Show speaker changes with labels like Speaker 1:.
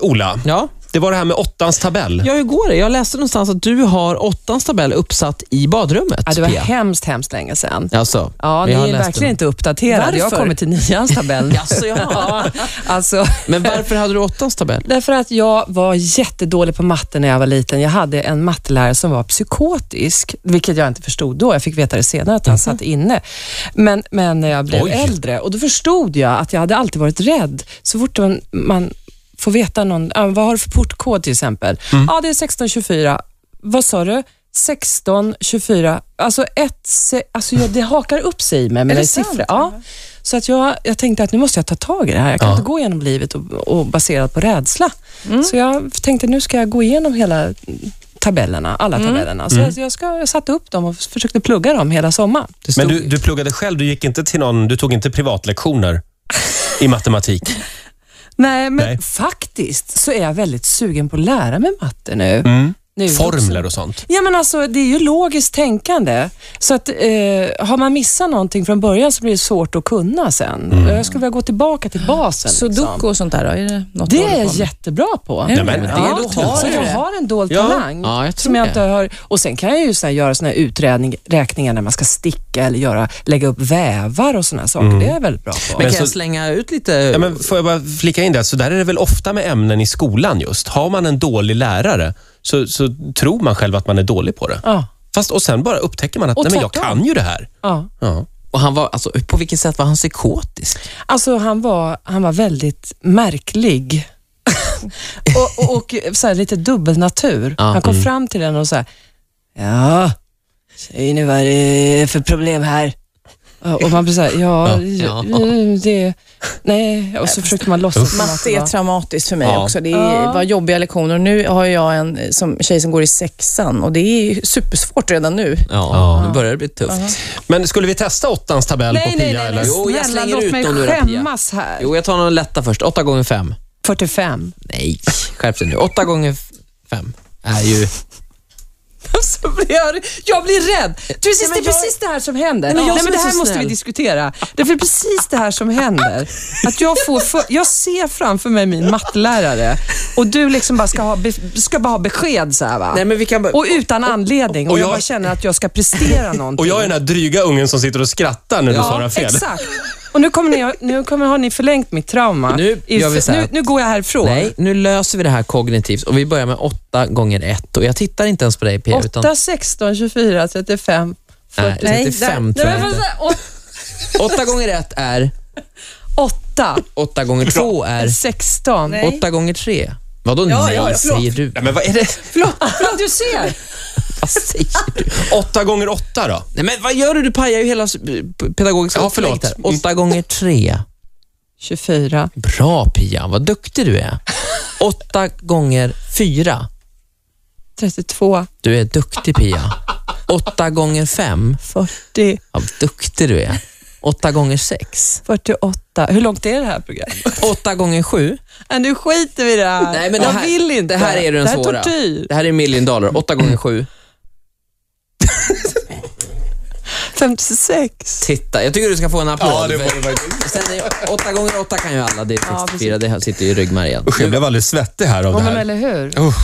Speaker 1: Ola,
Speaker 2: Ja.
Speaker 1: det var det här med åttans tabell.
Speaker 2: ja, hur går det? Jag läste någonstans att du har åttans tabell uppsatt i badrummet.
Speaker 3: Ja, det var
Speaker 2: Pia.
Speaker 3: hemskt, hemskt länge sedan.
Speaker 2: Alltså,
Speaker 3: Ja, ni
Speaker 2: jag har
Speaker 3: är
Speaker 2: läst
Speaker 3: verkligen
Speaker 2: den.
Speaker 3: inte uppdaterade. Jag
Speaker 2: Varför?
Speaker 3: har kommit till nians tabell.
Speaker 2: Jaså, ja.
Speaker 3: alltså,
Speaker 2: Men varför hade du åttans tabell?
Speaker 3: därför att jag var jättedålig på matte när jag var liten. Jag hade en mattelärare som var psykotisk, vilket jag inte förstod då. Jag fick veta det senare
Speaker 2: Mhm.
Speaker 3: att han satt inne. Men, men när jag blev
Speaker 1: Oj.
Speaker 3: äldre och då förstod jag att jag hade alltid varit rädd. Så fort man, man får veta någon, ja, vad har du för portkod till exempel? Ja, det är 1624. Vad sa du? 16, 24, alltså ett, se- alltså jag, det hakar upp sig i mig med
Speaker 4: det
Speaker 3: det
Speaker 4: sant?
Speaker 3: siffror. Ja. Så att jag, jag tänkte att nu måste jag ta tag i det här. Jag kan inte gå igenom livet och, och baserat på rädsla. Så jag tänkte nu ska jag gå igenom hela tabellerna, alla tabellerna. Så jag, jag, ska, jag satte upp dem och försökte plugga dem hela sommaren.
Speaker 2: Det stod,
Speaker 1: Men du, du pluggade själv, du gick inte till någon, du tog inte privatlektioner i matematik.
Speaker 3: Nej, men
Speaker 1: Nej.
Speaker 3: faktiskt så är jag väldigt sugen på att lära mig matte nu. nu
Speaker 1: Formler och sånt.
Speaker 3: Ja, men alltså, det är ju logiskt tänkande. Så att, eh, har man missat någonting från början så blir det svårt att kunna sen. Jag skulle vilja gå tillbaka till basen. liksom.
Speaker 4: Sudoku och sånt där då? Är det något
Speaker 3: Det
Speaker 4: du håller
Speaker 3: är jag
Speaker 4: på med?
Speaker 3: jättebra på.
Speaker 4: Ja,
Speaker 1: men det
Speaker 4: låter
Speaker 3: har
Speaker 4: bra.
Speaker 3: så jag har en dold
Speaker 2: Ja,
Speaker 3: talang.
Speaker 2: ja, jag tror
Speaker 3: som jag
Speaker 2: det.
Speaker 3: inte har. Och sen kan jag ju så här göra såna här uträkningar när man ska sticka eller göra, lägga upp vävar och såna här saker. Det är jag väldigt bra på.
Speaker 2: men kan
Speaker 1: så-
Speaker 2: jag slänga ut lite?
Speaker 1: Ja, men får jag bara flika in det? Så där är det väl ofta med ämnen i skolan just. Har man en dålig lärare så, så tror man själv att man är dålig på det.
Speaker 3: Ja,
Speaker 1: Fast och sen bara upptäcker man att
Speaker 3: Och
Speaker 1: nej, men jag
Speaker 3: tvärtom.
Speaker 1: kan ju det här.
Speaker 3: ja.
Speaker 1: Ja.
Speaker 2: Och han var, alltså, på vilket sätt var han psykotisk?
Speaker 3: Alltså han var, han var väldigt märklig. och och, och så här, lite dubbelnatur.
Speaker 2: Ja. mm.
Speaker 3: han kom fram till den och så här, ja, säg nu vad det är för problem här. Och man blir såhär, ja,
Speaker 2: Ja.
Speaker 3: ju- det, nej. Och så försökte man låtsas som att
Speaker 4: Matte
Speaker 3: det
Speaker 4: är
Speaker 3: var-
Speaker 4: traumatiskt för mig
Speaker 1: Ja.
Speaker 4: också. Det
Speaker 3: Ja.
Speaker 4: är, var jobbiga lektioner. Nu har jag en eh, som, tjej som går i sexan och det är ju supersvårt redan nu.
Speaker 2: Ja, nu börjar det bli tufft.
Speaker 1: Men skulle vi testa åttans tabell på
Speaker 3: Nej,
Speaker 1: Pia?
Speaker 3: nej, nej,
Speaker 1: eller?
Speaker 3: nej.
Speaker 2: Jo, jag
Speaker 3: Snälla,
Speaker 2: slänger
Speaker 3: låt
Speaker 2: ut
Speaker 3: mig
Speaker 2: dem nu då, Pia.
Speaker 3: skämmas här.
Speaker 2: Jo, jag tar någon lätta först. 8 gånger 5.
Speaker 3: 45.
Speaker 2: Nej, skärp dig nu. 8 gånger 5 är ju...
Speaker 3: Så blir jag, jag blir rädd. Du, precis, det är precis det här som händer. Nej,
Speaker 2: men
Speaker 3: men,
Speaker 2: jag som
Speaker 3: det
Speaker 2: är så
Speaker 3: här måste
Speaker 2: snäll.
Speaker 3: vi diskutera. Det är precis det här som händer. Att jag, får för, jag ser framför mig min mattelärare och du liksom bara ska ha, be, ska bara ha besked så här, va?
Speaker 2: Nej, men vi kan bara-
Speaker 3: Och utan anledning. Och,
Speaker 1: och
Speaker 3: jag,
Speaker 1: jag-
Speaker 3: bara känner att jag ska prestera någonting.
Speaker 1: Och jag är den här dryga ungen som sitter och skrattar när du svarar
Speaker 3: Ja,
Speaker 1: fel.
Speaker 3: exakt. Och nu, kommer ni, nu kommer, har ni förlängt mitt trauma.
Speaker 2: Nu
Speaker 3: I-
Speaker 2: gör vi så här.
Speaker 3: nu, nu går jag härifrån.
Speaker 2: Nej, nu löser vi det här kognitivt och vi börjar med 8 gånger 1. Och jag tittar inte ens på dig, Pia.
Speaker 3: 8, 16, 24, 35, 40.
Speaker 2: Nej, 35
Speaker 3: Nej,
Speaker 2: tror jag
Speaker 3: men vad
Speaker 2: inte.
Speaker 3: säger- åt-
Speaker 2: 8 gånger 1 är...
Speaker 3: åtta,
Speaker 2: 8 gånger 2 är...
Speaker 3: 16.
Speaker 4: Nej.
Speaker 2: 8 gånger 3. Vadå
Speaker 4: ja,
Speaker 2: nej,
Speaker 4: ja, förlåt.
Speaker 2: säger du?
Speaker 1: Nej, men vad är det?
Speaker 3: Förlåt, du ser.
Speaker 2: Vad säger du?
Speaker 1: Åtta gånger åtta då?
Speaker 2: Nej, men vad gör du? Du pajar ju hela s- p- pedagogiska
Speaker 1: Ja, förlåt.
Speaker 2: upplägget här. 8 gånger 3.
Speaker 3: 24.
Speaker 2: Bra Pia, vad duktig du är. 8 gånger 4.
Speaker 3: 32.
Speaker 2: Du är duktig Pia. 8 gånger 5.
Speaker 3: 40.
Speaker 2: Vad duktig du är. 8 gånger 6.
Speaker 3: 48. Hur långt är det här programmet?
Speaker 2: 8 gånger 7.
Speaker 3: Äh, nu skiter vi i det här.
Speaker 2: Nej, men det
Speaker 3: Jag
Speaker 2: här-
Speaker 3: vill inte.
Speaker 2: det här är den
Speaker 3: det här är
Speaker 2: svåra.
Speaker 3: tortyr.
Speaker 2: Det här är million dollar. 8 gånger 7.
Speaker 3: 56.
Speaker 2: Titta, jag tycker du ska få en applåd.
Speaker 1: Ja, det får du
Speaker 2: Sen är 8 gånger 8 kan ju alla. Det är
Speaker 3: Ja,
Speaker 2: 64, det här sitter ju i ryggmärgen.
Speaker 1: Usch, jag blev alldeles svettig här av det
Speaker 3: Ja, men
Speaker 1: här.
Speaker 3: eller hur?
Speaker 1: Usch.